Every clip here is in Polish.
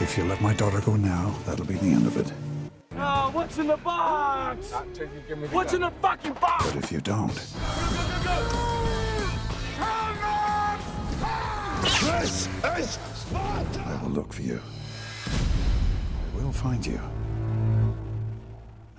If you let my daughter go now, that'll be the end of it. Oh, what's in the box? What's in the fucking box? But if you don't, this is Sparta! I will look for you. I will find you.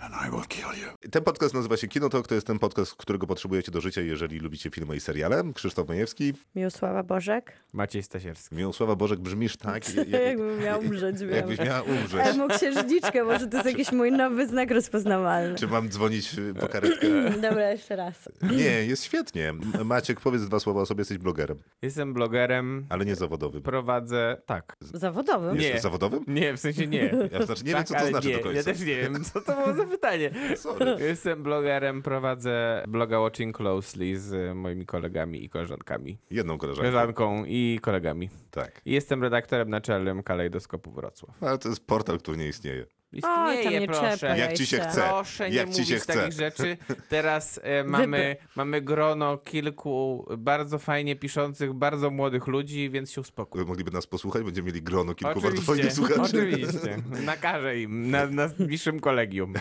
And I will kill you. Ten podcast nazywa się Kino Talk. To jest ten podcast, którego potrzebujecie do życia, jeżeli lubicie filmy i seriale. Krzysztof Majewski, Miłosława Bożek? Maciej Stasierski. Miłosława Bożek, brzmisz tak, jak, Jakbym miała umrzeć, wiem. jakbyś miała umrzeć. Emo księżniczkę, może to jest jakiś mój nowy znak rozpoznawalny. Czy mam dzwonić y, po karetkę? Mm, Dobra, jeszcze raz. Nie, jest świetnie. M- Maciek, powiedz dwa słowa o sobie, jesteś blogerem, Jestem blogerem, ale nie zawodowym. prowadzę... Tak. Zawodowym? Nie. Jesteś zawodowym? Nie, w sensie nie. Ja znaczy, nie tak, wiem, co to ale znaczy nie. do końca. Ja też nie wiem, co to było za pytanie. Sorry. Jestem blogerem, prowadzę bloga Watching Closely z e, moimi kolegami i koleżankami. Jedną koleżankę. Koleżanką i kolegami. Tak. I jestem redaktorem naczelnym Kalejdoskopu Wrocław. Ale to jest portal, który nie istnieje. Oj, tam nie proszę. czepaj Jak ci się chce. Proszę nie Jak ci mówić się chce. takich rzeczy. Teraz e, mamy, mamy grono kilku bardzo fajnie piszących, bardzo młodych ludzi, więc się uspokój. Mogliby nas posłuchać, będziemy mieli grono kilku bardzo fajnych słuchaczy. oczywiście. Nakażę im na, na bliższym kolegium.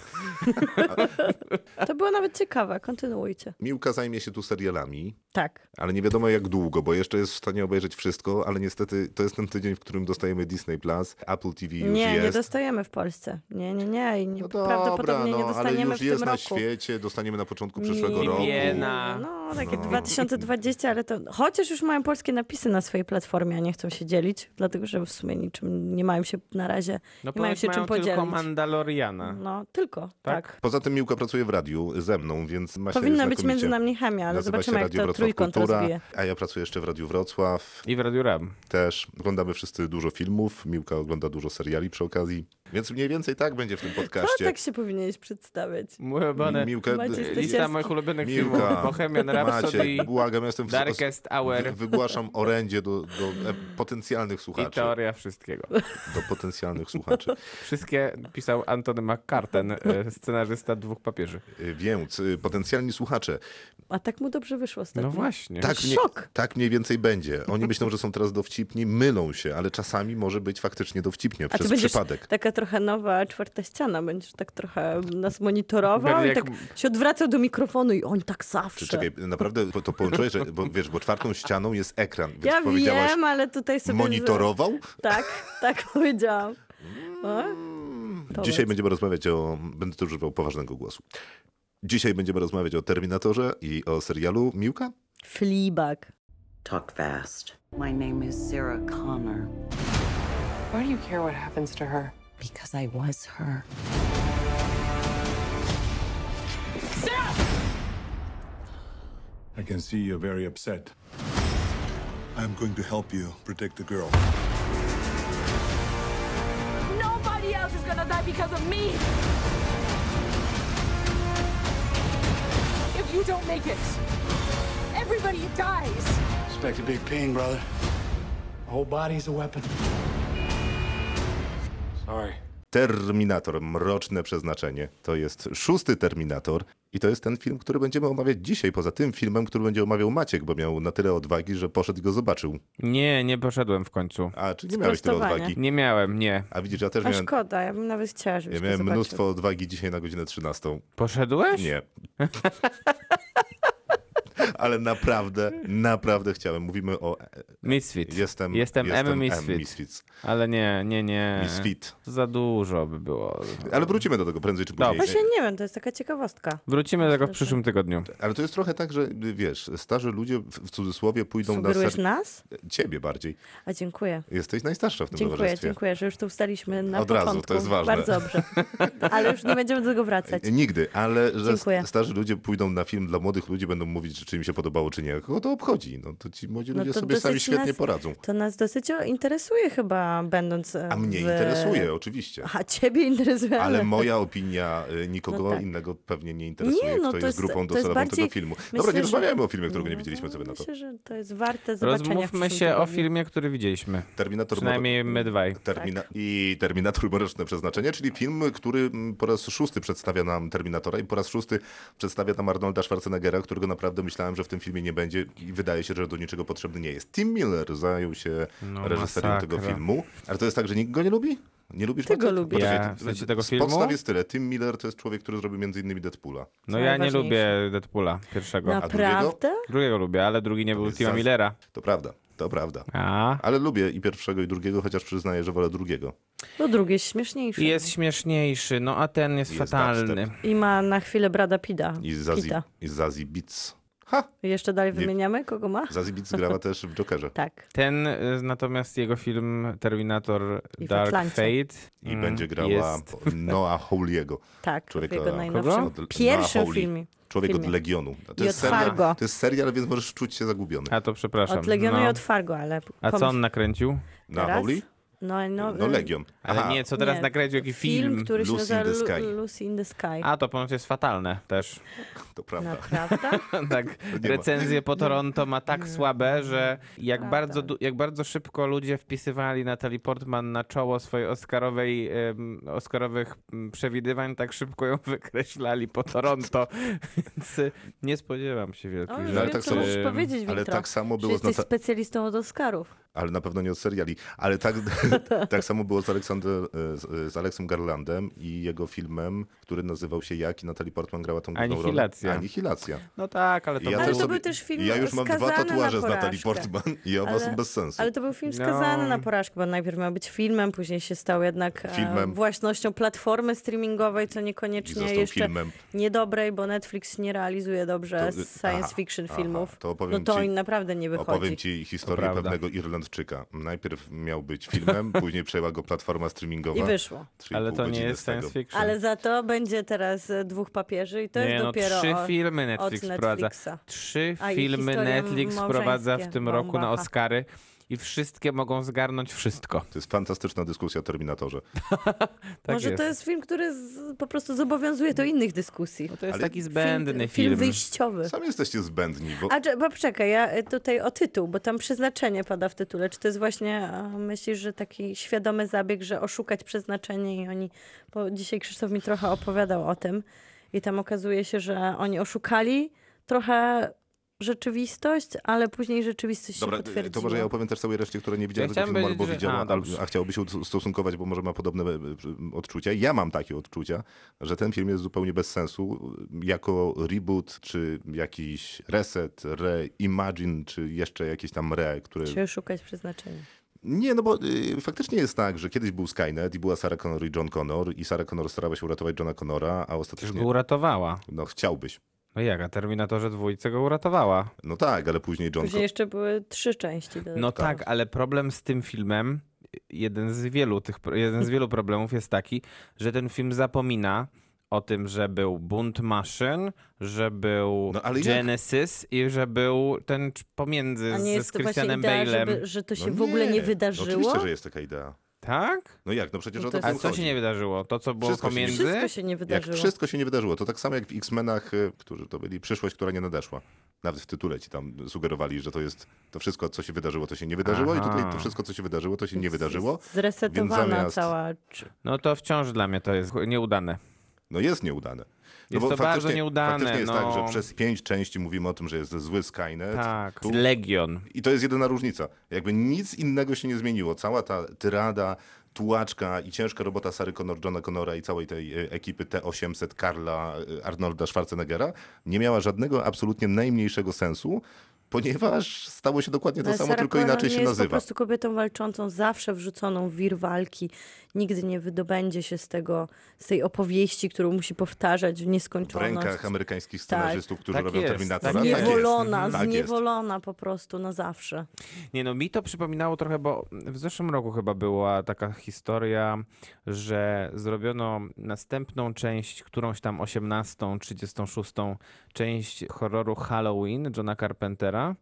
To było nawet ciekawe, kontynuujcie. Miłka zajmie się tu serialami, Tak. ale nie wiadomo jak długo, bo jeszcze jest w stanie obejrzeć wszystko, ale niestety to jest ten tydzień, w którym dostajemy Disney+, Plus, Apple TV już Nie, jest. nie dostajemy w Polsce. Nie, nie, nie. I nie No prawdopodobnie dobra, nie no, ale dostaniemy już w tym jest na roku. świecie, dostaniemy na początku przyszłego Nie roku. wiem. Na- No, takie 2020, ale to. Chociaż już mają polskie napisy na swojej platformie, a nie chcą się dzielić, dlatego że w sumie niczym nie mają się na razie. No nie mają ponoć się czym podzielić. tylko Mandaloriana. No, tylko, tak. Poza tym Miłka pracuje w radiu ze mną, więc ma się Powinna być znakomicie. między nami chemia, ale Nazywa się zobaczymy, jak Radio to Wrocław trójkąt Kultura, rozbije. No, A ja pracuję jeszcze w Radiu Wrocław I w Radiu Ram. też. Oglądamy wszyscy dużo filmów, Miłka ogląda dużo seriali przy okazji, więc mniej więcej tak będzie w tym No, podcaście. tak się powinieneś przedstawiać. Moje bane. Miłka, Macie d- Lista moich ulubionych filmów. Bohemian Rhapsody, Macie, błagam, ja jestem w Darkest wy- Hour Wygłaszam orędzie do, do e, potencjalnych i słuchaczy. teoria wszystkiego. Do potencjalnych słuchaczy. Wszystkie pisał Antony McCarten, e, scenarzysta dwóch papieży. Y, Więc y, potencjalni słuchacze. A tak mu dobrze wyszło ostatnio. No właśnie. Tak mniej, Szok. tak mniej więcej będzie. Oni myślą, że są teraz dowcipni, mylą się, ale czasami może być faktycznie dowcipnie A ty przez będziesz przypadek. taka trochę nowa czwarta ściana, będziesz tak trochę nas monitorował Będę i jak- tak się odwracał do mikrofonu i on tak zawsze. Czy, czekaj, naprawdę po- to połączyłeś, że, bo wiesz, bo czwartą ścianą jest ekran, więc ja powiedziałaś, wiem, ale tutaj sobie... z- monitorował? Tak, tak powiedziałam. O? Dzisiaj będziemy rozmawiać o. Będę tu używał poważnego głosu. Dzisiaj będziemy rozmawiać o Terminatorze i o serialu Miłka? Fleabag. Talk fast. My name is Sarah Connor Why do you care what happens to her? because I was her. I can see you're very upset. I'm going to help you protect the girl. Nobody else is gonna die because of me. If you don't make it, everybody dies. Expect a big ping, brother. Whole body's a weapon. Sorry. Terminator, mroczne przeznaczenie. To jest szósty Terminator i to jest ten film, który będziemy omawiać dzisiaj. Poza tym filmem, który będzie omawiał Maciek, bo miał na tyle odwagi, że poszedł i go zobaczył. Nie, nie poszedłem w końcu. A czy nie miałeś tyle Sprostowanie. odwagi? Nie miałem, nie. A widzisz, ja też A miałem, szkoda, ja bym nawet chciała, żebyś ja to miałem zobaczył. mnóstwo odwagi dzisiaj na godzinę 13. Poszedłeś? Nie. Ale naprawdę, naprawdę chciałem. Mówimy o. Misfit. Jestem. Jestem, jestem M Misfit. Misfits. Ale nie, nie, nie. Misfit. Za dużo by było. Ale wrócimy do tego prędzej czy później. Dobrze. Właśnie No nie wiem, to jest taka ciekawostka. Wrócimy do tego w przyszłym tygodniu. Ale to jest trochę tak, że wiesz, starzy ludzie w w cudzysłowie pójdą na Sugerujesz ser... nas? Ciebie bardziej. A dziękuję. Jesteś najstarsza w tym Dziękuję, towarzystwie. dziękuję, że już to ustaliśmy na Od razu, początku. to jest ważne. Bardzo dobrze. Ale już nie będziemy do tego wracać. E, Nigdy, ale że Dziękuję. st- starzy ludzie pójdą na film dla młodych ludzi, będą mówić, czy im się podobało, czy nie. Kogo to obchodzi? No to ci młodzi ludzie to sobie sami dosyć świetnie nas- poradzą. To nas dosyć o- interesuje chyba, będąc e, A mnie w... interesuje, oczywiście. A ciebie interesuje. Ale moja opinia y, nikogo No tak. innego pewnie nie interesuje, Nie, no kto to jest jest- grupą to jest docelową bardziej- tego filmu. myślę, Dobra, nie że- rozmawiajmy o filmie, którego nie No, widzieliśmy sobie na to. Myślę, że to jest warte zobaczenia. w Rozmówmy przyszłym się o tygodniu. filmie, który widzieliśmy. Terminator Tak. Przynajmniej my dwaj. Termina- I Terminator Mroczne Przeznaczenie, czyli film, który mm, po raz szósty przedstawia nam Terminatora i po raz szósty przedstawia nam Arnolda Schwarzeneggera, którego naprawdę myślałem, że w tym filmie nie będzie i wydaje się, że do niczego potrzebny nie jest. Tim Miller zajął się No, reżyserią tego masakra. filmu, ale to jest tak, że nikt go nie lubi? Nie lubisz Ty go Maciek? lubisz. Poczekaj, Ja, ty- w sensie ty- tego z filmu? podstaw jest tyle. Tim Miller to jest człowiek, który zrobił m.in. Deadpoola. No Co ja nie najważniejsze. No. lubię Deadpoola pierwszego. Naprawdę? Drugiego lubię, ale drugi nie był jest Tima sens. Millera. To prawda, to prawda. A. Ale lubię i pierwszego, i drugiego, chociaż przyznaję, że wolę drugiego. No drugi jest śmieszniejszy. I jest śmieszniejszy, no a ten jest, Jest fatalny. dubstep. I ma na chwilę Brada Pida. I Zazie, Pita. i Zazie Beats. Ha! Jeszcze dalej wymieniamy, kogo ma? Zazie Beats grała też w Jokerze. Tak. Ten y, natomiast jego film Terminator I w Dark Atlancie. Fate I mm, będzie grała jest- Noah Howley'ego. Tak, Człowieka- w jego Kogo? najnowszym Od- pierwszym Nahauli. filmie. Człowiek filmie. od Legionu. To I jest, od serial, Fargo. to jest serial, więc możesz czuć się zagubiony. A to przepraszam. Od Legionu i no. od Fargo, ale A co pomyśl- on nakręcił? Na teraz? Howley? No, no, No y, Legion. Ale nie, co teraz nie, nakręcił, jaki film? Film, który się Lucy in nazywa the Sky. Lu- Lucy in the Sky. A to ponoć jest fatalne też. To prawda. No, Naprawdę? tak, ma. recenzje po Toronto ma tak słabe, że jak bardzo, du- jak bardzo szybko ludzie wpisywali Natalie Portman na czoło swojej Oscarowej, em, Oscarowych mm, przewidywań, tak szybko ją wykreślali po Toronto. Więc y, nie spodziewam się O, wielkich już ale wiem, tak co samo- możesz powiedzieć, Ale Wintro. tak samo Że było z jesteś Nata- specjalistą od Oscarów. ale na pewno nie od seriali. Ale tak, tak samo było z, Aleksander, z, z Aleksem Garlandem i jego filmem, który nazywał się Jak i Natalie Portman grała tą główną Anihilacja. rolę. Anihilacja. No tak, ale to Ale było... to był też film Ja już mam dwa skazany na tatuaże z Natalie porażkę. Portman i oba są Ale- bez sensu. Ale to był film No. skazany na porażkę, bo najpierw miał być filmem, później się stał jednak e, Filmem. własnością platformy streamingowej, co I niekoniecznie został jeszcze filmem. niedobrej, bo Netflix nie realizuje dobrze To- science aha, fiction aha, filmów. to opowiem no to ci- im naprawdę nie wychodzi. Opowiem ci historię prawda. pewnego Irlandczyka. Najpierw miał być filmem, później przejęła go platforma streamingowa. I wyszło. Trzy i Ale pół to nie godziny jest z tego. science fiction. Ale za to będzie teraz e, dwóch papieży i to nie, jest no, dopiero trzy o, filmy Netflix od wprowadza. Netflixa. Trzy A i filmy historie Netflix małżeńskie, wprowadza w tym roku na bomba. Oscary i wszystkie mogą zgarnąć wszystko. To jest fantastyczna dyskusja o Terminatorze. Tak Może jest. to jest film, który z, po prostu zobowiązuje do innych dyskusji. No To jest Ale- taki zbędny film. film. wyjściowy. Sami jesteście zbędni, bo A czy- bo czekaj, ja y, tutaj o tytuł, bo tam przeznaczenie pada w tytule. Czy to jest właśnie, a, myślisz, że taki świadomy zabieg, że oszukać przeznaczenie i oni, bo dzisiaj Krzysztof mi trochę opowiadał o tym i tam okazuje się, że oni oszukali trochę rzeczywistość, ale później rzeczywistość Dobra, e, się potwierdziła. to może ja opowiem też całej reszcie, która nie widziała Ja tego chciałem filmu powiedzieć, albo widziała, że- a, a, dobrze. a chciałoby się ustosunkować, bo może ma podobne e, e, odczucia. Ja mam takie odczucia, że ten film jest zupełnie bez sensu. Jako reboot, czy jakiś reset, reimagine, czy jeszcze jakieś tam re, które... Czy oszukać przeznaczenie? Nie, no bo y, faktycznie jest tak, że kiedyś był Skynet i była Sarah Connor i John Connor i Sarah Connor starała się uratować Johna Connora, a Już ostatecznie... go uratowała. No chciałbyś. No jak, a Terminatorze dwójce go uratowała. No tak, ale później John... Później jeszcze były trzy części. dodatkowe. No tak, ale problem z tym filmem, jeden z wielu tych, jeden z wielu problemów jest taki, że ten film zapomina o tym, że był bunt maszyn, że był No, ale jak? Genesis i że był ten cz- pomiędzy A nie z, z jest to właśnie Christianem idea, Bale'em. żeby, że to się No w ogóle nie, nie No, wydarzyło? oczywiście, że jest taka idea. Tak? No jak, no przecież No o to to jest- A film co się chodzi. nie wydarzyło? To, co było Wszystko się nie- pomiędzy? Wszystko się nie Jak wydarzyło. wszystko się nie wydarzyło, to tak samo jak w X-Menach, y, którzy to byli przyszłość, która nie nadeszła. Nawet w tytule ci tam sugerowali, że to jest to wszystko, co się wydarzyło, to się nie wydarzyło i Aha. tutaj to wszystko, co się wydarzyło, to się nie wydarzyło. Zresetowana Więc zamiast- cała... czy- No to wciąż dla mnie to jest nieudane. No jest nieudane. No Jest to faktycznie- bardzo nieudane, Faktycznie jest tak, no. że przez pięć części mówimy o tym, że jest zły Skynet. Tak. Tu- Legion. I to jest jedyna różnica. Jakby nic innego się nie zmieniło. Cała ta tyrada, tułaczka i ciężka robota Sary Connor, Johna Connora i całej tej e, ekipy T-800, Karla, e, Arnolda Schwarzeneggera nie miała żadnego absolutnie najmniejszego sensu, ponieważ stało się dokładnie to Ale samo, Sarah tylko No, Connor inaczej nie się jest po nazywa. prostu kobietą walczącą, zawsze wrzuconą w wir walki. Nigdy nie wydobędzie się z tego, z tej opowieści, którą musi powtarzać w W nieskończoność. rękach amerykańskich scenarzystów, którzy Tak robią jest, Terminatora. tak jest. Zniewolona, Tak jest. zniewolona po prostu na zawsze. Nie no, mi to przypominało trochę, bo w zeszłym roku chyba była taka historia, że zrobiono następną część, którąś tam 18, 36 część horroru Halloween Johna Carpentera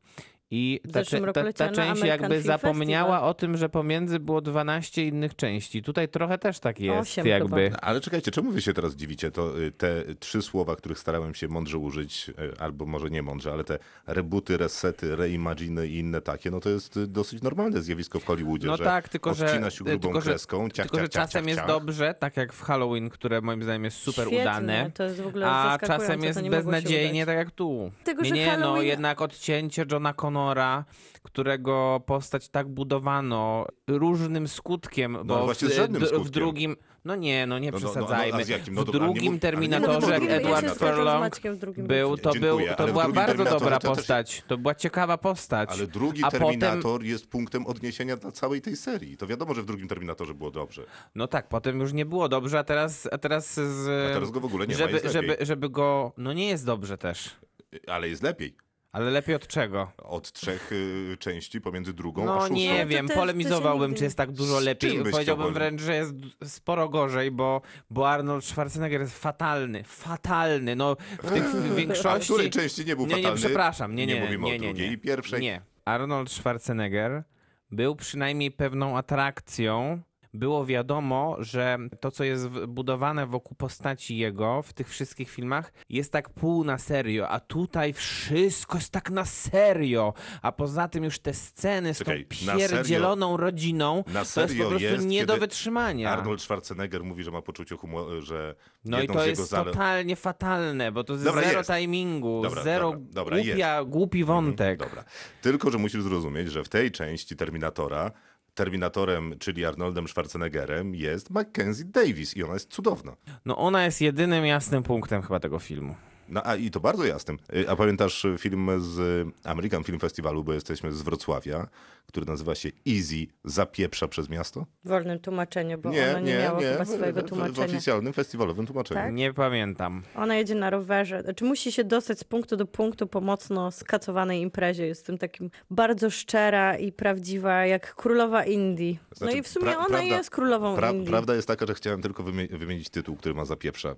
I ta, zeszłym cze- roku ta, leciała na ta część American jakby Film zapomniała Festival. o tym, że pomiędzy było 12 innych części. Tutaj trochę też tak jest Osiem jakby. chyba. Ale czekajcie, czemu wy się teraz dziwicie? To y, te trzy słowa, których starałem się mądrze użyć, y, albo może nie mądrze, ale te rebooty, resety, reimaginy i inne takie, no to jest y, dosyć normalne zjawisko w Hollywoodzie, No że tak, tylko że, odcina się grubą tylko, że, kreską, ciach, tylko, ciach, że ciach, czasem ciach, jest ciach. dobrze, tak jak w Halloween, które moim zdaniem jest super Świetnie, udane, to jest w ogóle a zaskakujące, czasem to jest nie mogło się beznadziejnie, udać. tak jak tu. Tylko, nie, że nie no, Halloween- jednak odcięcie Johna Connora, którego postać tak budowano różnym skutkiem, bo No, właśnie w, z żadnym d- w skutkiem. drugim... No nie, no nie No, no, no, przesadzajmy. no, a z jakim? No w dobra, nie mów- drugim ale nie Terminatorze mów- No, Ja się Edward zgadzam z Furlong Maćkiem w drugim był, to, Dziękuję, był, ale to w była drugim bardzo Terminatorze dobra to też- postać. To była ciekawa postać. Ale drugi a Terminator Potem, jest punktem odniesienia dla całej tej serii. To wiadomo, że w drugim Terminatorze było dobrze. No tak, potem już nie było dobrze, a teraz, a teraz z. A teraz go w ogóle nie ma, żeby, jest lepiej. żeby, żeby go. No nie jest dobrze też. Y, Ale jest lepiej. Ale lepiej od czego? Od trzech y, części pomiędzy drugą a No szóstą. nie No to wiem, też- to się polemizowałbym, nigdy czy jest tak dużo Z czym lepiej. byście Powiedziałbym wolni? wręcz, że jest sporo gorzej, bo, bo Arnold Schwarzenegger jest fatalny. Fatalny. No w tych w A większości. w której części nie był Nie, nie, fatalny? przepraszam. Nie, nie, nie mówimy nie, o nie, drugiej i pierwszej. Nie. Arnold Schwarzenegger był przynajmniej pewną atrakcją. Było wiadomo, że to, co jest w- budowane wokół postaci jego w tych wszystkich filmach, jest tak pół na serio, a tutaj wszystko jest tak na serio. A poza tym już te sceny z Czekaj, tą na serio- pierdzieloną rodziną Na to jest po serio prostu jest, nie do kiedy wytrzymania. Arnold Schwarzenegger mówi, że ma poczucie humoru, że No i jedną to z jego jest zalet... totalnie fatalne, bo to jest Dobra, zero jest. timingu, Dobra, zero dobra, dobra, Mhm, głupia, głupi wątek. Hmm, Dobra. Tylko, że musisz zrozumieć, że w tej części Terminatora Terminatorem, czyli Arnoldem Schwarzeneggerem jest Mackenzie Davis i ona jest cudowna. No ona jest jedynym jasnym punktem chyba tego filmu. No a i to bardzo jasnym. Y, A pamiętasz y, film z y, American Film Festivalu, bo jesteśmy z Wrocławia, który nazywa się Easy zapieprza przez miasto? W wolnym tłumaczeniu, bo ono nie, miało chyba w- swojego w- W tłumaczenia. oficjalnym festiwalowym tłumaczeniu. Tak? Nie pamiętam. Ona jedzie na rowerze. Znaczy musi się dostać z punktu do punktu po mocno skacowanej imprezie. Jest w tym takim bardzo szczera i prawdziwa, jak królowa Indii. Znaczy, no i w sumie pra- ona prawda- jest królową pra- Indii. Prawda jest taka, że chciałem tylko wymie- wymienić tytuł, który ma zapieprza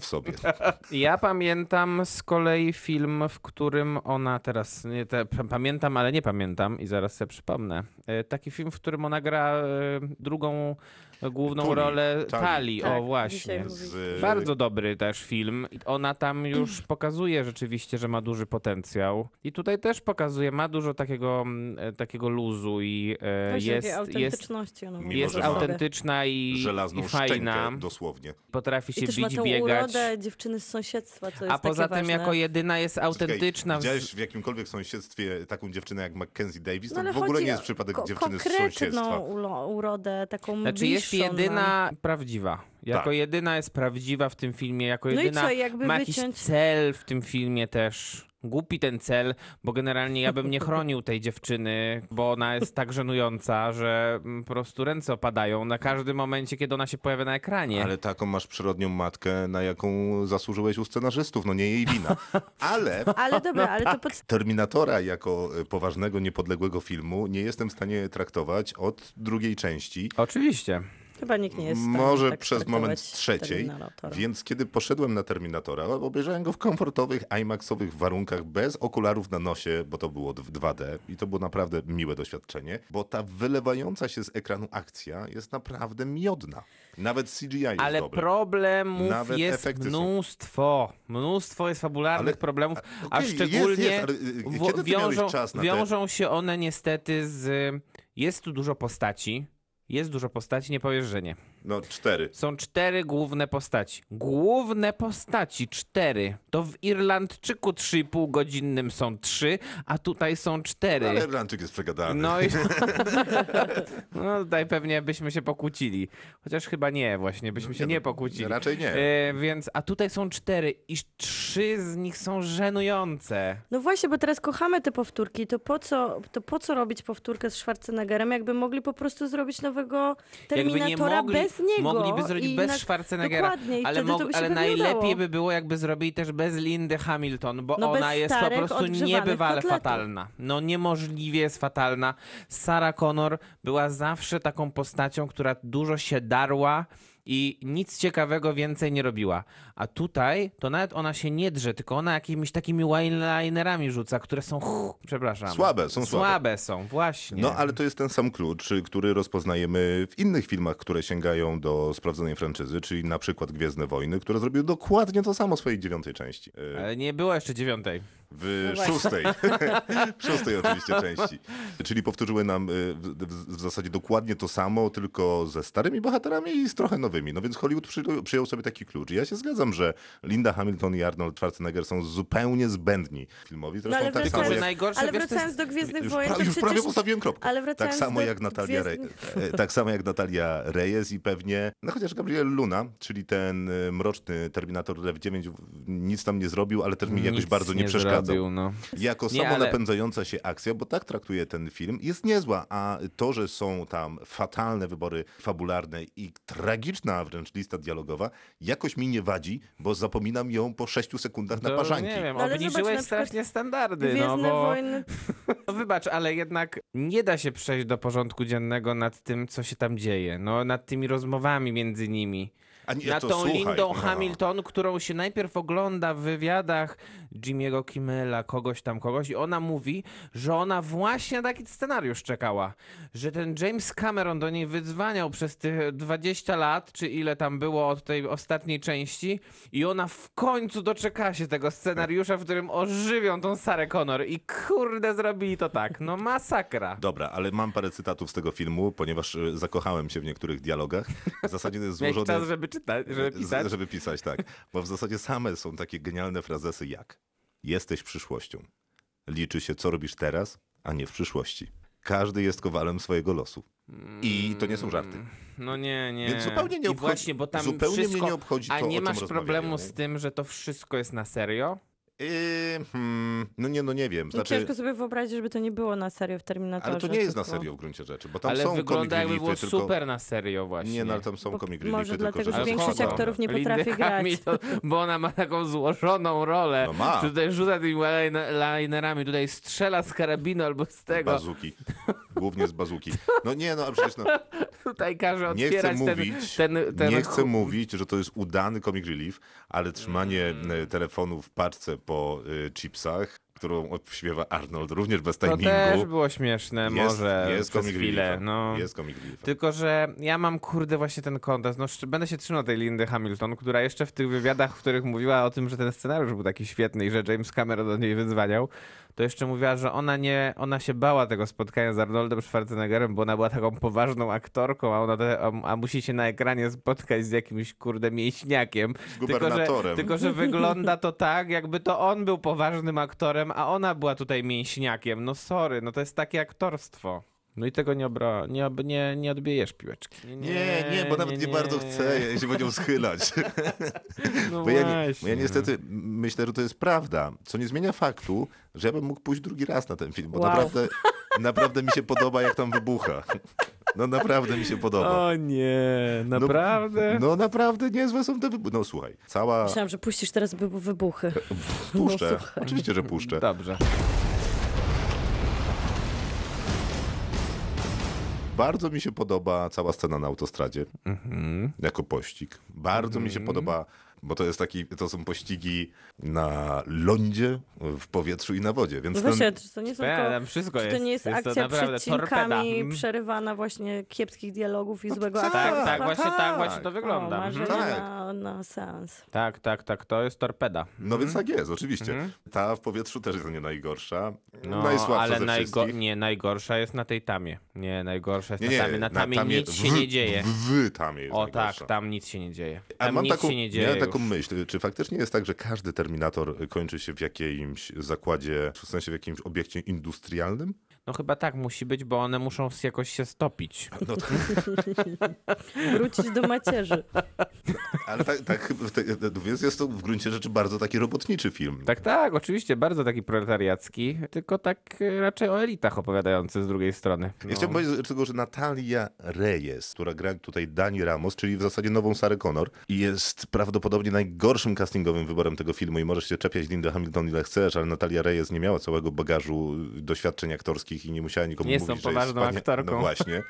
w sobie. Ja pamiętam z kolei film, w którym ona teraz, nie te, p- pamiętam, ale nie pamiętam i zaraz sobie przypomnę. E, Taki film, w którym ona gra e, drugą e, główną Tuli. rolę Tali. Tali, Tak, o dzisiaj właśnie. mówiliśmy. Z- Bardzo dobry też film. I Ona tam już Mm. pokazuje rzeczywiście, że ma duży potencjał. I tutaj też pokazuje, ma dużo takiego, mm, e, takiego luzu i e, Właśnie takiej jest, jest, autentyczności ona ma Mimo, jest że ma w sobie. autentyczna i, żelazną i fajna. szczękę dosłownie. Potrafi I się też ma bić, tą biegać. urodę dziewczyny z sąsiedztwa, co jest A poza takie tym ważne. jako jedyna jest autentyczna. Czekaj, w... widziałeś w jakimkolwiek sąsiedztwie taką dziewczynę jak Mackenzie Davis? No, To ale w ogóle chodzi nie jest o przypadek ko- no. dziewczyny z konkretną sąsiedztwa. ulo- urodę, taką Znaczy jest bliższą nam. jedyna prawdziwa. Jako Tak. jedyna jest prawdziwa w tym filmie, jako No i jedyna co, jakby ma jakiś wyciąć- cel w tym filmie też. Głupi ten cel, bo generalnie ja bym nie chronił tej dziewczyny, bo ona jest tak żenująca, że mm, po prostu ręce opadają na każdym momencie, kiedy ona się pojawia na ekranie. Ale taką masz przyrodnią matkę, na jaką zasłużyłeś u scenarzystów, no nie jej wina. Ale No, Ale dobra, ale tak. to pod... Terminatora jako y, poważnego, niepodległego filmu nie jestem w stanie traktować od drugiej części. Oczywiście. chyba nikt nie jest w stanie Może tak przez traktować moment trzeciej, Terminatora. więc kiedy poszedłem na Terminatora, obejrzałem go w komfortowych, IMAXowych warunkach, bez okularów na nosie, bo to było d- 2D i to było naprawdę miłe doświadczenie, bo ta wylewająca się z ekranu akcja jest naprawdę miodna. Nawet CGI jest Ale dobre. problemów Nawet jest efekty są. mnóstwo. Mnóstwo jest fabularnych Ale- problemów, a- a okej, jest, szczególnie jest, ale, y, y, wo- kiedy ty miałeś wiążą, czas na te- wiążą się one niestety z... Jest tu dużo postaci. Jest dużo postaci, nie powiesz, że nie. No cztery. Są cztery główne postaci. Główne postaci, cztery. To w Irlandczyku 3,5 godzinnym są trzy, a tutaj są cztery. Ale Irlandczyk jest przegadany. No i no tutaj pewnie byśmy się pokłócili. Chociaż chyba nie, właśnie, byśmy się nie pokłócili. no, raczej nie. E, więc, a tutaj są cztery i trzy z nich są żenujące. No właśnie, bo teraz kochamy te powtórki, to po co, to po co robić powtórkę z Schwarzeneggerem, jakby mogli po prostu zrobić nowego Terminatora bez niego. Mogliby zrobić i bez na- Schwarzeneggera, Dokładnie, i ale, wtedy to mog- by się ale pewnie najlepiej udało. by było, jakby zrobili też bez Lindy Hamilton, bo No bez ona jest po starych, prostu odgrzewanych niebywale kotletów. fatalna. No niemożliwie jest fatalna. Sarah Connor była zawsze taką postacią, która dużo się darła i nic ciekawego więcej nie robiła. A tutaj to nawet ona się nie drze, tylko ona jakimiś takimi one-linerami rzuca, które są. chuch, Przepraszam. Słabe, są słabe. Słabe są, właśnie. No, ale to jest ten sam klucz, y, który rozpoznajemy w innych filmach, które sięgają do sprawdzonej franczyzy, czyli na przykład Gwiezdne Wojny, które zrobiły dokładnie to samo w swojej dziewiątej części. Y, Ale nie było jeszcze dziewiątej. W No właśnie. szóstej. w szóstej oczywiście części. Czyli powtórzyły nam y, w, w, w zasadzie dokładnie to samo, tylko ze starymi bohaterami i z trochę nowymi. No więc Hollywood przy, przyjął sobie taki klucz. I ja się zgadzam, że Linda Hamilton i Arnold Schwarzenegger są zupełnie zbędni filmowi. No, ale Zresztą tak wracając, samo że jak... najgorsze, ale wiesz, to wracając do Gwiezdnych Już, Wojen, pra, to już przecież... prawie postawiłem kropkę. Ale tak wracając samo do jak Natalia Re... Gwiezdnych- e, tak samo jak Natalia Reyes i pewnie, no chociaż Gabriel Luna, czyli ten y, mroczny Terminator Rev9 w- nic tam nie zrobił, ale też mi jakoś Nic bardzo nie, przeszkadzał. zrobił, no. Jako Nie, ale- samonapędzająca się akcja, bo tak traktuje ten film, jest niezła, a to, że są tam fatalne wybory fabularne i tragiczna wręcz lista dialogowa, jakoś mi nie wadzi, bo zapominam ją po 6 sekundach na To parzanki. Nie wiem, No ale obniżyłeś zobacz, na przykład strasznie standardy, no Gwiezdne bo... Wojny... Znaczy- No wybacz, ale jednak nie da się przejść do porządku dziennego nad tym, co się tam dzieje. No, nad tymi rozmowami między nimi. A nie, nad to tą słuchaj, Lindą no. Hamilton, którą się najpierw ogląda w wywiadach Jimmy'ego Kimmela, kogoś tam, kogoś i ona mówi, że ona właśnie na taki scenariusz czekała. Że ten James Cameron do niej wydzwaniał przez tych 20 lat, czy ile tam było od tej ostatniej części i ona w końcu doczekała się tego scenariusza, w którym ożywią tą Sarę Connor i kurde zrobili to tak. No masakra. Dobra, ale mam parę cytatów z tego filmu, ponieważ y, zakochałem się w niektórych dialogach. W zasadzie to jest Miałeś złożone... czas, żeby czytać, żeby Z- pisać. Żeby pisać, tak. Bo w zasadzie same są takie genialne frazesy jak jesteś przyszłością. Liczy się, co robisz teraz, a nie w przyszłości. Każdy jest kowalem swojego losu. I to nie są żarty. No nie, nie. Więc zupełnie nie I obchodzi- właśnie, bo tam zupełnie mnie wszystko... nie obchodzi A to, o nie czym masz problemu rozmawiają. z tym, że to wszystko jest na serio? Yy, hmm, no nie, no nie wiem. Znaczy, Ciężko sobie wyobrazić, żeby to nie było na serio w Terminatorze. ale to nie jest na tylko- serio w gruncie rzeczy, bo tam ale są wygląda jakby było komik tylko... super na serio właśnie. Nie, no ale tam są Bo komik może reliefy, tylko dlatego, że że Ale są no. większość skąd składane. aktorów nie Lindy potrafi grać. Hamilton, bo ona ma taką złożoną rolę. No ma. Czy Tutaj rzuca tymi one- linerami, tutaj strzela z karabinu albo z tego. Bazuki. Głównie z bazuki. No nie, no a przecież no, Tutaj każe Nie chcę otwierać mówić, ten, ten, ten... nie chcę mówić, że to jest udany comic relief, ale trzymanie Mm. e, telefonu w paczce po y, chipsach, którą śpiewa Arnold również bez To timingu. No też było śmieszne, może przez comic chwilę. reliefem. No. Jest comic reliefem. Tylko, że ja mam kurde właśnie ten kontest. No, szcz- będę się trzymał tej Lindy Hamilton, która jeszcze w tych wywiadach, w których mówiła o tym, że ten scenariusz był taki świetny i że James Cameron do niej wyzwaniał, to jeszcze mówiła, że ona nie, ona się bała tego spotkania z Arnoldem Schwarzeneggerem, bo ona była taką poważną aktorką, a, ona te, a, a musi się na ekranie spotkać z jakimś kurde mięśniakiem. Tylko że, gubernatorem. tylko, że wygląda to tak, jakby to on był poważnym aktorem, a ona była tutaj mięśniakiem. No sorry, no to jest takie aktorstwo. No i tego nie, obra- nie, ob- nie, nie odbijesz piłeczki. Nie, nie, bo nawet nie, bardzo chcę ja się po nią schylać. No Bo ja, nie, bo właśnie. ja niestety m- myślę, że to jest prawda, co nie zmienia faktu, że ja bym mógł pójść drugi raz na ten film, bo Wow. naprawdę, naprawdę mi się podoba, jak tam wybucha. No naprawdę mi się podoba. O nie, No, naprawdę? No, naprawdę niezłe są te wybuchy. No słuchaj, cała... Myślałam, że puścisz teraz by- wybuchy. no, Puszczę. Oczywiście, że puszczę. Dobrze. Bardzo mi się podoba cała scena na autostradzie Mhm. jako pościg. Bardzo mi się podoba, bo to jest taki, to są pościgi na lądzie, w powietrzu i na wodzie, No więc właśnie, ten, czy to nie są Ja, tylko... tam wszystko Czy jest. to nie jest, to akcja naprawdę przecinkami torpeda. Hmm. przerywana właśnie kiepskich dialogów i złego tak, Tak, aktorstwa? tak, właśnie tak, tak. właśnie to wygląda. O, Mhm. marzenie Tak. na, na seans. Tak, tak, tak, to jest torpeda. no więc tak jest, oczywiście. Ta w powietrzu też jest nie najgorsza, No, najsłabsza ale ze najgo- wszystkich. nie, najgorsza jest na tej tamie. Nie, najgorsza jest na tamie. Na tamie nic się w- nie dzieje. W tam jest O najgorsza. tak, tam nic się nie dzieje. A Tam mam nic taką, się nie dzieje. miałem taką już. myśl, czy faktycznie jest tak, że każdy Terminator kończy się w jakimś zakładzie, w sensie w jakimś obiekcie industrialnym? No chyba tak musi być, bo one muszą s- jakoś się stopić. No, to- Wrócić do macierzy. No ale tak, tak te- więc jest to w gruncie rzeczy bardzo taki robotniczy film. Tak, tak, oczywiście, bardzo taki proletariacki, tylko tak e, raczej o elitach opowiadający z drugiej strony. No. Ja chciałbym powiedzieć że tylko, że Natalia Reyes, która gra tutaj Dani Ramos, czyli w zasadzie nową Sarę Connor, jest prawdopodobnie najgorszym castingowym wyborem tego filmu i możesz się czepiać Linda Hamilton ile chcesz, ale Natalia Reyes nie miała całego bagażu doświadczeń aktorskich wszystkich i nie musiała nikomu Nie są mówić, że jest poważną wspania- aktorką. No właśnie.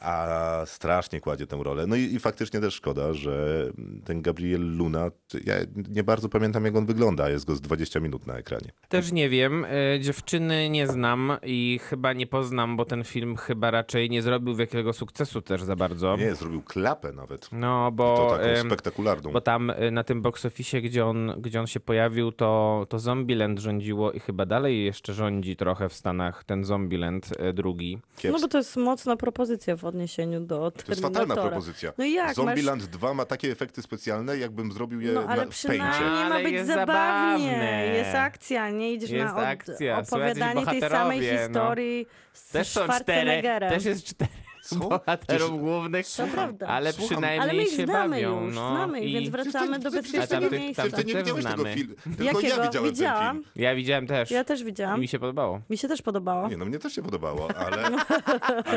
A strasznie kładzie tę rolę. No i, i faktycznie też szkoda, że ten Gabriel Luna, ty- ja nie bardzo pamiętam jak on wygląda, jest go z 20 minut na ekranie. Też nie wiem, e, dziewczyny nie znam i chyba nie poznam, bo ten film chyba raczej nie zrobił wielkiego sukcesu też za bardzo. Nie, zrobił klapę nawet. No, To tak bo, taką Um. em, spektakularną. bo tam e, na tym box office, gdzie on, gdzie on się pojawił, to, to Zombieland rządziło i chyba dalej jeszcze rządzi trochę w Stanach ten Zombieland e, drugi. No Kiepsko. bo to jest mocna propozycja w odniesieniu do To jest fatalna Terminatora. propozycja. No jak, masz... Zombieland 2 ma takie efekty specjalne, jakbym zrobił je No na, ale w pęcie. przynajmniej ma Ale być jest zabawnie. zabawne. Jest akcja, nie idziesz Jest na od... akcja, są opowiadanie tej jacyś samej bohaterowie, no. historii z Też są cztery, Schwarzeneggerem. też jest cztery Co? bohaterów Przecież- głównych, Słucham, prawda. ale Słucham. Ale my przynajmniej ich się znamy bawią. już, no, znamy ich, i... więc wracamy do Przecież ty- bezpiecznego tam- miejsca. Przecież ty nie Też widziałeś tego znamy. filmu. Tylko ja Jakiego? widziałem ten Widziałam. film. Ja widziałem też. Ja też I widziałam. Mi się podobało. Mi się też podobało. Nie, no mnie też się podobało, ale... Ale,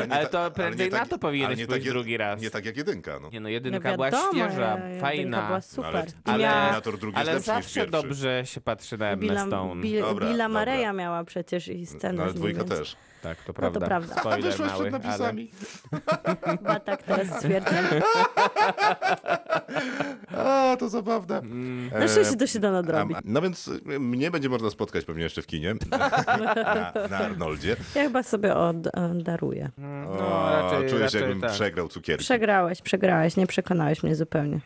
nie Ale ta- to prędzej nie tak- na to powinieneś ale nie pójść jed- drugi raz. Nie tak jak jedynka, no. Nie no, No jedynka wiadomo, była świeża, ja- fajna. Jedynka była No, ale super. ale Miała Terminator drugi Ale jest lepszy niż zawsze pierwszy. dobrze się patrzy na Emmę Billa, Stone. Bill, Dobra, Billa dobra. Mareya miała przecież i scenę No, ale z nim, dwójka więc też. Tak, to No to prawda. prawda. Spoiler Wyszłaś mały, przed napisami. Chyba tak teraz E, stwierdzam. A, to zabawne. Mm. E, Na szczęście to się da nadrobić. A- No więc y, mnie będzie można spotkać pewnie jeszcze w kinie. Na, na Arnoldzie. Ja chyba sobie e, oddaruję. O, No, raczej- czujesz, raczej jakbym tak. przegrał cukierki. Przegrałeś, przegrałeś, nie przekonałeś mnie zupełnie.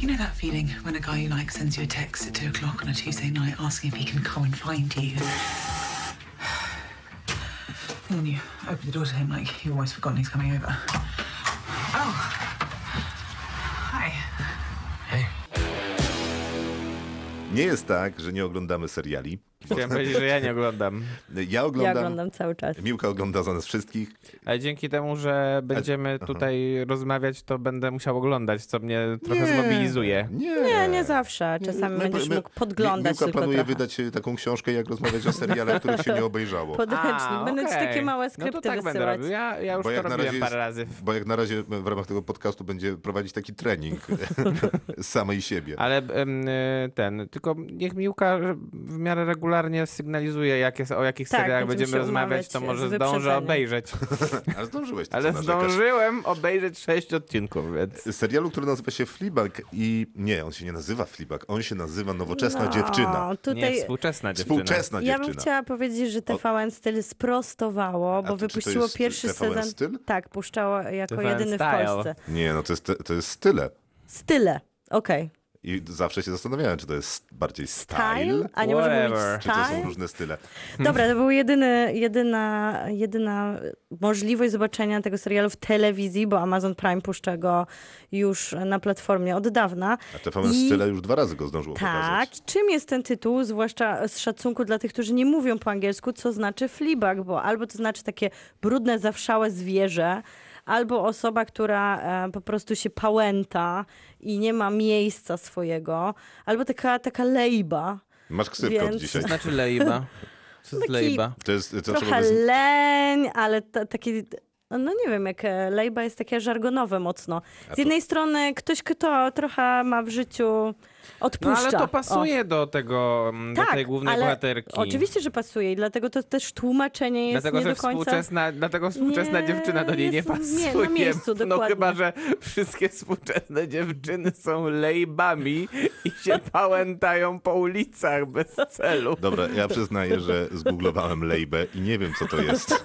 You know that feeling when a guy you like sends you a text at two o'clock on a Tuesday night asking if he can come and find you? And then you open the door to him like you've always forgotten he's coming over. Oh. Hi. Nie jest tak, że nie oglądamy seriali. Chciałem powiedzieć, że ja nie oglądam. Ja Ja oglądam. oglądam cały czas. Miłka ogląda za nas wszystkich. Ale dzięki temu, że będziemy tutaj rozmawiać, to będę musiał oglądać, co mnie trochę Nie. zmobilizuje. Nie. Nie, nie zawsze. Czasami będziesz mógł podglądać Miłka tylko planuje trochę. wydać y, taką książkę, jak rozmawiać o serialach, których się nie obejrzało. Podręcznik. Będę ci takie okej. małe no skrypty to tak będę wysyłać. robił. Ja, ja już Bo to jak, na robiłem razie parę jest, razy. bo jak na razie w ramach tego podcastu będzie prowadzić taki trening samej siebie. Ale em, y, ten, tylko niech Miłka w miarę regularnie sygnalizuje, jak jest, o jakich Tak, serialach będziemy będziemy się rozmawiać, to umawiać może z zdążę wyprzedzeniem. obejrzeć. Ale zdążyłeś, ty co Ale narzekasz. zdążyłem obejrzeć sześć odcinków, więc... serialu, który nazywa się Fleabag i nie, on się nie nazywa Fleabag, on się nazywa Nowoczesna No, Dziewczyna. Nie, Tutaj współczesna dziewczyna. Współczesna ja bym dziewczyna. chciała powiedzieć, że TVN Styl sprostowało, to bo czy to wypuściło jest pierwszy TVN sezon. Styl? Tak, puszczało jako TVN jedyny w Style. Polsce. Nie, no to jest, to jest style. Style. Okej. I zawsze się zastanawiałem, czy to jest bardziej style, Tile? A nie może Whatever. mówić czy to są tile? różne style. Dobra, to była jedyny, jedyna, jedyna możliwość zobaczenia tego serialu w telewizji, bo Amazon Prime puszcza go już na platformie od dawna. A TVN I- Style już dwa razy go zdążyło Tak, pokazać. czym jest ten tytuł, zwłaszcza z szacunku dla tych, którzy nie mówią po angielsku, co znaczy flibak, bo albo to znaczy takie brudne, zawszałe zwierzę, albo osoba, która e, po prostu się pałęta i nie ma miejsca swojego, albo taka, taka lejba. Masz ksywkę od Więc- dzisiaj. Znaczy Leiba. Co jest Leiba? To jest, to trzeba Trochę by z- leń, ale ta- taki. No nie wiem, jak e, lejba jest takie żargonowe mocno. Z jednej strony ktoś, kto trochę ma w życiu No odpuszcza. ale to O. Tak, pasuje do tego, mm, do tej głównej ale bohaterki. Oczywiście, że pasuje i dlatego to też tłumaczenie jest Dlatego, nie że do końca. współczesna, dlatego współczesna Nie, dziewczyna do niej nie jest- nie, na pasuje. miejscu, no dokładnie. chyba, że wszystkie współczesne dziewczyny są lejbami i się pałętają po ulicach bez celu. Dobra, ja przyznaję, że zgooglowałem Lejbę i nie wiem, co to jest.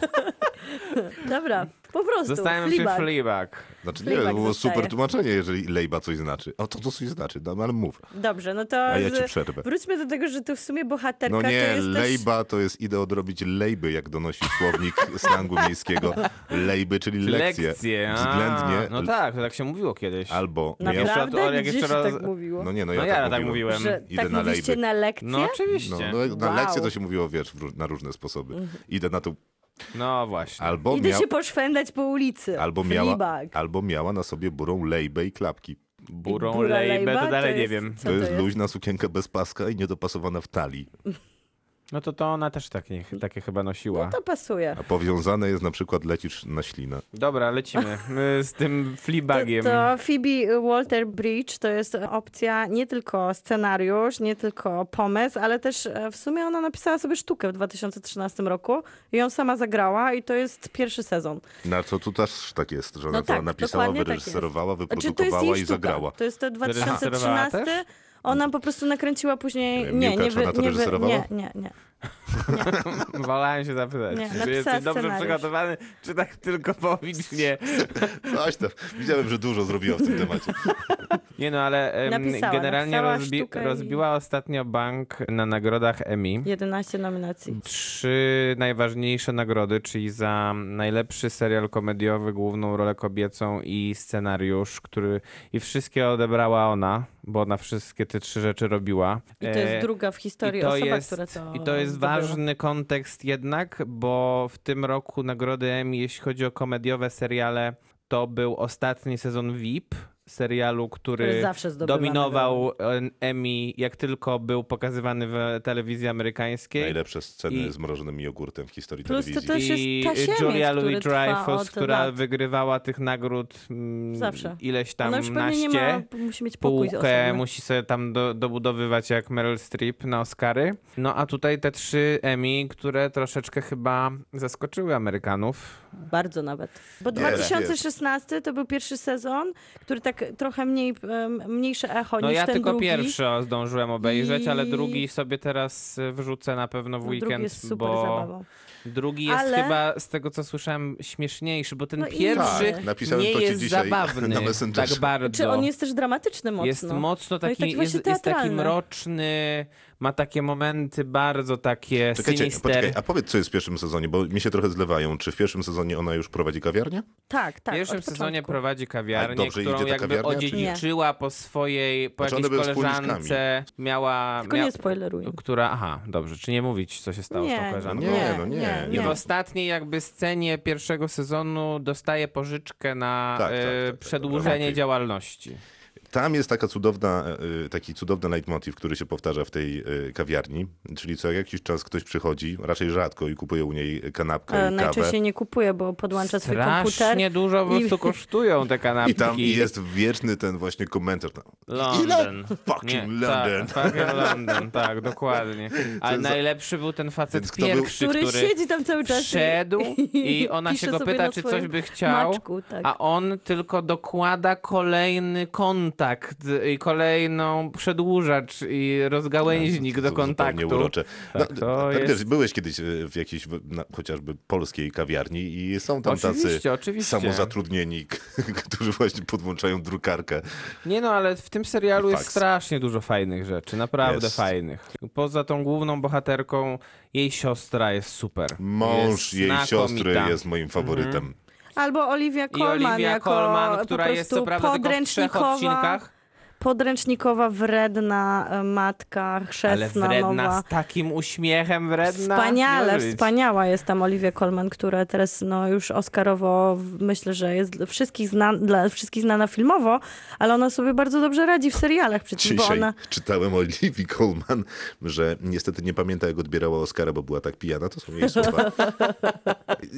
Dobra, po prostu. Zostałem się flibak. flibak. Znaczy nie, to Fleabag było zostaje. super tłumaczenie, jeżeli Lejba coś znaczy. O, to, to coś znaczy, no ale mów. Dobrze, no to A ja ci z- przerwę. wróćmy do tego, że tu w sumie bohaterka No to nie, jest też... lejba to jest idę odrobić lejby, jak donosi słownik slangu miejskiego. Lejby, czyli lekcje. Lekcje. a, Względnie. No tak, to tak się mówiło kiedyś. Albo. No ja- Jeszcze to- Naprawdę? jak Gdzie jeszcze się raz- tak mówiło? no nie, no No ja, ja tak mówiłem. że Idę tak na mówiście lejby. na lekcję? No No, oczywiście. no, na Wow. Mhm. lekcje to się mówiło, wiesz, w ró- na różne sposoby. Idę na tą... No właśnie. Albo, Idę mia... się poszwędzać po ulicy. albo, miała... Flibak. albo miała na sobie burą lejbę i klapki. Burą Bura lejbę, lejba to dalej nie jest- wiem. co To jest luźna sukienka bez paska i niedopasowana w talii. No to to ona też takie, takie chyba nosiła. No To pasuje. A powiązane jest na przykład lecisz na ślinę. Dobra, lecimy y, z tym flibagiem. To Phoebe Walter Bridge to jest opcja nie tylko scenariusz, nie tylko pomysł, ale też e, w sumie ona napisała sobie sztukę w 2013 roku i ją sama zagrała i to jest pierwszy sezon. Na co tu też tak jest, że ona No to tak, napisała, dokładnie tak jest. wyreżyserowała, Znaczy, to jest jej wyprodukowała i sztuka. zagrała. To jest to Reżyserowała 2013. też? Ona po prostu nakręciła później. Nie, Miłka, nie, czy ona wy, to nie, wy, reżyserowała? nie, nie, nie. Wolałem się zapytać, Nie, czy napisała jesteś dobrze scenariusz. przygotowany, czy tak tylko powicznie. Coś tam. Widziałem, że dużo zrobiła w tym temacie. Nie no, ale em, Napisała, generalnie napisała rozbi sztukę i- rozbiła ostatnio bank na nagrodach Emmy. 11 nominacji. Trzy najważniejsze nagrody, czyli za najlepszy serial komediowy, główną rolę kobiecą i scenariusz, który i wszystkie odebrała ona, bo ona wszystkie te trzy rzeczy robiła. I to E, jest druga w historii i to osoba, jest, która to. I to jest zdobyła. ważny kontekst jednak, bo w tym roku nagrody Emmy, jeśli chodzi o komediowe seriale, to był ostatni sezon VIP, serialu, który Który zawsze zdobywa dominował e, Emmy, jak tylko był pokazywany w telewizji amerykańskiej. Najlepsze sceny I- z mrożonym jogurtem w historii Plus to telewizji. też- jest I Tasiemiec, Julia który Louis trwa Dreyfus, od która lat. wygrywała tych nagród mm, Zawsze. ileś tam Ona już pewnie naście nie ma, musi mieć pokój półkę, osobny. musi sobie tam do, dobudowywać jak Meryl Streep na Oscary. No a tutaj te trzy Emmy, które troszeczkę chyba zaskoczyły Amerykanów. Bardzo nawet. Bo Nie, 2016 to był pierwszy sezon, który tak trochę mniej, em, mniejsze echo No niż ja ten tylko drugi. pierwszy zdążyłem obejrzeć, ale I- drugi sobie teraz y, wrzucę na pewno w No, weekend, drugi jest super bo zabawą. drugi jest Ale- chyba z tego co słyszałem śmieszniejszy, bo ten No i- pierwszy Tak, napisałem nie to ci jest dzisiaj zabawny na tak Messengerze. bardzo. Czy Znaczy, on jest też dramatyczny mocno? Jest mocno No i taki, taki właśnie jest, jest taki teatralny. mroczny, ma takie momenty bardzo takie Czekajcie, sinister. poczekaj, a powiedz, co jest w pierwszym sezonie, bo mi się trochę zlewają. Czy w pierwszym sezonie ona już prowadzi kawiarnię? Tak, tak. w pierwszym od początku. sezonie prowadzi kawiarnię, A dobrze którą idzie ta jakby kawiarnia, czy nie? odziedziczyła po swojej, po Znaczy one jakiejś były koleżance. Miała, Tylko mia- nie spoilerujmy. która, aha, dobrze, czy nie mówić, co się stało z tą Nie, koleżanką? Nie, no nie, I nie. w ostatniej jakby scenie pierwszego sezonu dostaje pożyczkę na Tak, tak, e, tak, tak, przedłużenie dobra, okej. działalności. Tam jest taka cudowna, y, taki cudowny leitmotiv, który się powtarza w tej y, kawiarni, czyli co jakiś czas ktoś przychodzi, raczej rzadko i kupuje u niej kanapkę E, i kawę. Najczęściej nie kupuje, bo podłącza swój komputer. Strasznie dużo po i- prostu kosztują te kanapki. I tam jest wieczny ten właśnie komentarz. tam, London. Fucking Nie, London. Tak, fucking London, tak, dokładnie. Ale jest za- najlepszy był ten facet Więc kto był- pierwszy, który, który siedzi tam cały czas. i- wszedł i ona pisze się go sobie pyta, na czy swoim coś by chciał, Maczku, tak. a on tylko dokłada kolejny kontakt i kolejną przedłużacz i rozgałęźnik do Zu- kontaktu. No, Zupełnie urocze. No, Tak, to tak jest- wiesz, byłeś kiedyś e, w jakiejś w- na, chociażby polskiej kawiarni i są tam tacy Oczywiście, oczywiście. samozatrudnieni, k- którzy właśnie podłączają drukarkę. Nie no, ale w tym serialu I jest faks. strasznie dużo fajnych rzeczy, naprawdę Jest. fajnych. Poza tą główną bohaterką, jej siostra jest super. Mąż Jest jej siostry znakomita. Mhm. jest moim faworytem. Albo Olivia I Colman Olivia jako Colman, po która jest co prostu prawda tylko w trzech podręcznikowa, odcinkach, podręcznikowa, wredna e, matka ale chrzestna wredna, Tak, nowa. z takim uśmiechem wredna. Wspaniale, Nie żyć. wspaniała jest tam Olivia Colman, która teraz no, już Oscarowo w- myślę, że jest dla wszystkich, znan, dla wszystkich znana filmowo, ale ona sobie bardzo dobrze radzi w serialach przecież, bo Dzisiaj ona... czytałem o Olivii Colman, że niestety nie pamięta, jak odbierała Oscara, bo była tak pijana. To są jej słowa.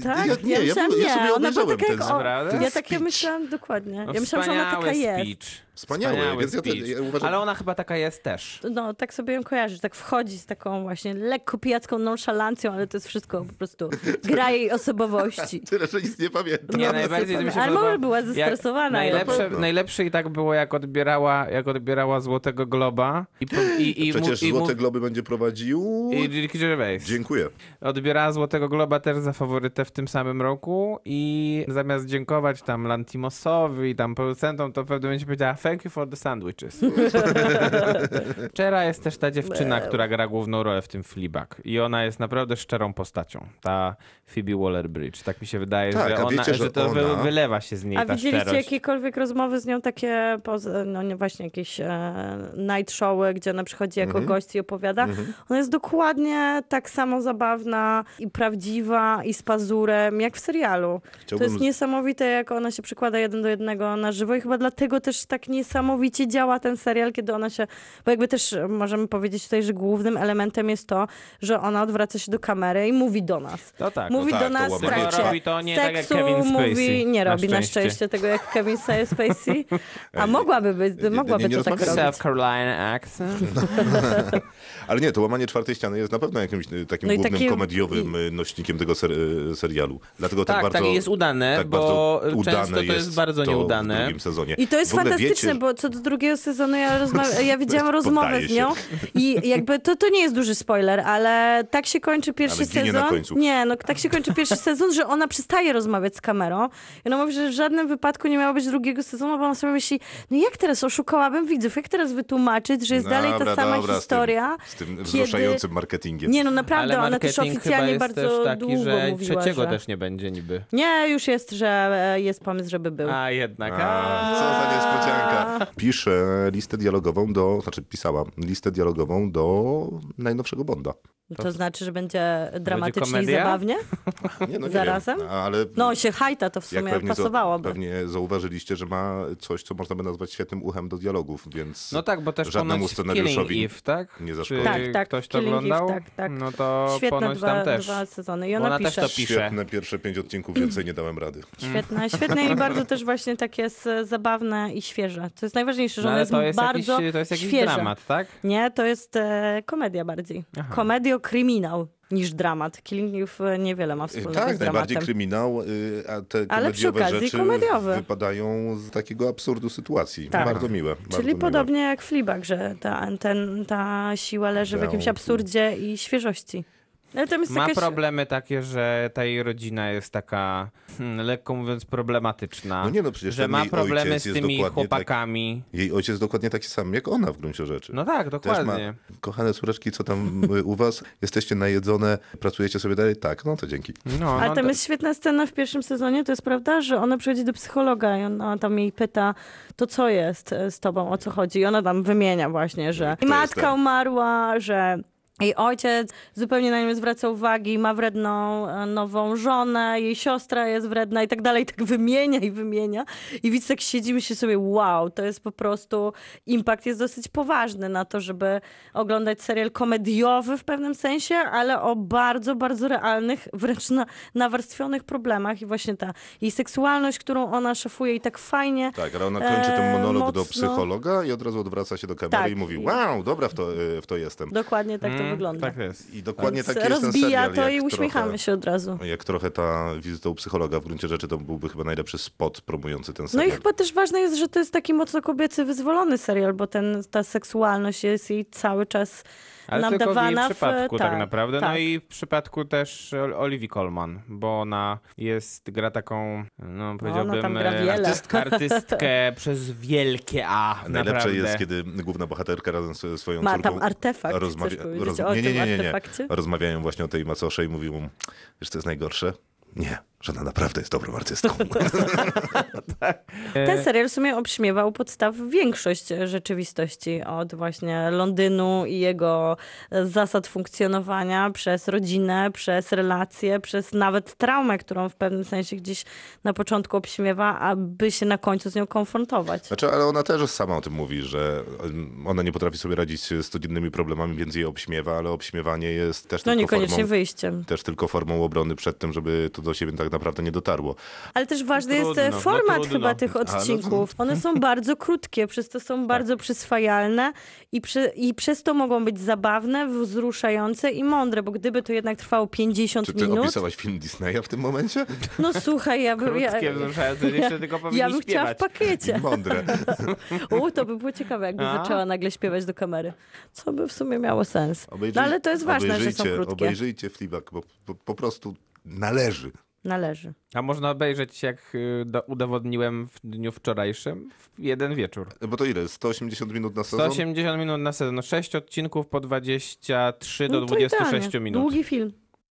Tak, ja, ja, nie, ja, myślałam, ja, nie, sobie ona była obejrzałem taka ten jak z- o, Prawda? Ja tak ja speech. myślałam dokładnie. No, ja myślałam, że ona taka wspaniały jest. Speech. Wspaniały, więc ja to- speech. ja uważam- Ale ona chyba taka jest też. No, tak sobie ją kojarzy, że tak wchodzi z taką właśnie lekko pijacką nonszalancją, ale to jest wszystko po prostu gra jej osobowości. Tyle, że nic nie pamiętam. Nie, najbardziej to mi się Ale podoba, może była jak zestresowana Najlepsze, jednak. najlepsze i tak było, jak odbierała, jak odbierała Złotego Globa. I, po- i, i, mu- Przecież i, mu- Złote Globy będzie prowadził... i Ricky Gervais. Dziękuję. Odbierała Złotego Globa też za faworytę w tym samym roku i zamiast dziękować tam Lantimosowi i tam producentom, to w pewnym momencie powiedziała thank you for the sandwiches. Czera jest też ta dziewczyna, która gra główną rolę w tym Fleabag i ona jest naprawdę szczerą postacią, ta Phoebe Waller-Bridge. Tak mi się wydaje, Tak, że, a ona, wiecie, że że to wy- ona- wylewa się z niej A ta widzieliście szczerość. jakiekolwiek rozmowy z nią takie, poza, no nie właśnie jakieś e, night showy, gdzie ona przychodzi jako Mhm. gość i opowiada? Ona jest dokładnie tak samo zabawna i prawdziwa i pazurem, jak w serialu. Chciałbym- To jest niesamowite, jak ona się przykłada jeden do jednego na żywo i chyba dlatego też tak niesamowicie działa ten serial, kiedy ona się... Bo jakby też możemy powiedzieć tutaj, że głównym elementem jest to, że ona odwraca się do kamery i mówi do nas. No tak, mówi tak, do to nas w łamanie trakcie prawa. Robi to nie tak jak seksu, Kevin Spacey, mówi... Nie na robi na szczęście. szczęście tego, jak Kevin Spacey, a mogłaby być, nie, mogłaby nie to tak rozmawiamy. robić. South Carolina accent. Tak Ale nie, to łamanie czwartej ściany jest na pewno jakimś y, takim No i głównym takie- komediowym y, nośnikiem tego ser, y, serialu. Dlatego tak, Tak, bardzo... tak, jest udane, tak bo bardzo często udane to jest bardzo to nieudane. w drugim sezonie. I to jest W ogóle fantastyczne, wiecie, bo co do drugiego sezonu ja, rozma- ja widziałam rozmowę Poddaję z nią i jakby to, to nie jest duży spoiler, ale tak się kończy pierwszy Ale ginie sezon. na końcu. Nie, no tak się kończy pierwszy sezon, że ona przestaje rozmawiać z kamerą. I ona mówi, że w żadnym wypadku nie miało być drugiego sezonu, bo ona sobie myśli, no jak teraz oszukałabym widzów, jak teraz wytłumaczyć, że jest dalej ta Dobra, sama dobra, historia. Z tym, z tym kiedy- wzruszającym marketingiem. Nie, no naprawdę, Ale ona też marketing chyba oficjalnie jest bardzo też taki, długo że mówiła, trzeciego że... też nie będzie niby. Nie, już jest, że e, jest pomysł, żeby był. A jednak. A, co za niespodzianka. Piszę listę dialogową do, znaczy pisała listę dialogową do najnowszego Bonda. To znaczy, że będzie dramatycznie i komedia? zabawnie? Nie, no nie Zarazem? Wiem, ale No, się hajta to w jak sumie pewnie, za, pasowałoby. pewnie zauważyliście, że ma coś, co można by nazwać świetnym uchem do dialogów, więc No tak, bo też żadnemu ponoć w Killing scenariuszowi Eve, tak? nie Czy zaszkodzi. Tak, tak, ktoś to Killing Eve, oglądał? tak, tak. No to Świetne ponoć dwa, tam też. dwa sezony. I Bo ona, ona też pisze. to pisze. świetne pierwsze pięć odcinków, więcej nie dałem rady. Świetne, świetne i bardzo też właśnie takie z, zabawne i świeże. To jest najważniejsze, że No, ona ale jest, to jest jakiś, bardzo to jest jakiś świeża. dramat, tak? Nie, to jest e, komedia bardziej. Aha. Komedio-kryminał niż dramat. Killing Eve e, niewiele ma wspólnego tak, z najbardziej dramatem. kryminał, y, a te Ale przy komediowe okazji rzeczy komediowe. wypadają z takiego absurdu sytuacji. Tak. Bardzo miłe. Bardzo Czyli miłe. podobnie jak Fleabag, że ta, ten, ta siła leży w jakimś Wow. absurdzie i świeżości. Ale tam jest Ma jakaś... problemy takie, że ta jej rodzina jest taka, hmm, lekko mówiąc, problematyczna. No nie, no przecież że ten ma jej problemy ojciec z jest tymi dokładnie tak- chłopakami. Jej ojciec dokładnie taki sam jak ona w gruncie rzeczy. No tak, Też ma, dokładnie. kochane córeczki, co tam y, u was? Jesteście najedzone, pracujecie sobie dalej? Tak, no to dzięki. No, Ale no tam to- jest świetna scena w pierwszym sezonie, to jest prawda, że ona przychodzi do psychologa i ona tam jej pyta, to co jest e, z tobą, o co chodzi? I ona tam wymienia właśnie, że jest matka ten? umarła, że jej ojciec zupełnie na nią nie zwraca uwagi, ma wredną e, nową żonę, jej siostra jest wredna i tak dalej, tak wymienia i wymienia. I widz tak siedzimy się sobie, wow, to jest po prostu, impact jest dosyć poważny na to, żeby oglądać serial komediowy w pewnym sensie, ale o bardzo, bardzo realnych, wręcz na, nawarstwionych problemach i właśnie ta jej seksualność, którą ona szafuje i tak fajnie. Tak, ale ona kończy ten e, monolog do mocno- psychologa i od razu odwraca się do kamery Tak. i mówi, wow, dobra, w to, y, w to jestem. Dokładnie tak to wygląda. Tak jest. I dokładnie Więc taki jest ten rozbija serial, to jak i uśmiechamy trochę, Tak, się od razu. Jak trochę ta wizyta u psychologa w gruncie rzeczy to byłby chyba najlepszy spot promujący ten No i serial. chyba też ważne jest, że to jest taki mocno kobiecy wyzwolony serial, bo ten, ta seksualność jest jej cały czas Ale nam tylko w jej dawana przypadku tak, naprawdę. tak. No i w przypadku też Ol- Oliwii Colman, bo ona jest, gra taką, no powiedziałbym, tam gra e, wiele. artystkę, artystkę przez wielkie A, Najlepsze naprawdę. jest, kiedy główna bohaterka razem ze swoją Ma córką tam artefakt, chcesz powiedzieć o nie, nie, tym nie, nie, nie. artefakcie? Rozmawiają właśnie o tej macosze i mówił mu, wiesz co jest najgorsze? Nie, że ona naprawdę jest dobrą artystką. e, Ten serial w sumie obśmiewał podstaw większość rzeczywistości od właśnie Londynu i jego e, zasad funkcjonowania przez rodzinę, przez relacje, przez nawet traumę, którą w pewnym sensie gdzieś na początku obśmiewa, aby się na końcu z nią konfrontować. Znaczy, ale ona też sama o tym mówi, że em, ona nie potrafi sobie radzić z codziennymi problemami, więc jej obśmiewa, ale obśmiewanie jest też No tylko niekoniecznie formą... wyjściem. Też tylko formą obrony przed tym, żeby to do siebie tak naprawdę nie dotarło. Ale też ważny Trudno, jest e, no format trudno. Tak. chyba tych odcinków. One są bardzo krótkie, przez to są bardzo przyswajalne i, przy, i przez to mogą być zabawne, wzruszające i mądre, bo gdyby to jednak trwało 50 Czy ty minut... opisałaś film Disneya w tym momencie? No słuchaj, ja bym... Ja, Krótkie, wzruszające, jeszcze tylko ja powinni bym chciała w śpiewać. pakiecie. Mądre. U, to by było ciekawe, jakby A. zaczęła nagle śpiewać do kamery. Co by w sumie miało sens. Obejrzyj- No ale to jest ważne, że są obejrzyjcie- krótkie. Obejrzyjcie Fleabag, bo po, po prostu należy. Należy. No A można obejrzeć, jak y, do, udowodniłem w dniu wczorajszym, w jeden wieczór. No Bo to ile? 180 minut na sezon? 180 minut na sezon, 6 odcinków po 23 do No to 26 idealnie. minut. Długi film.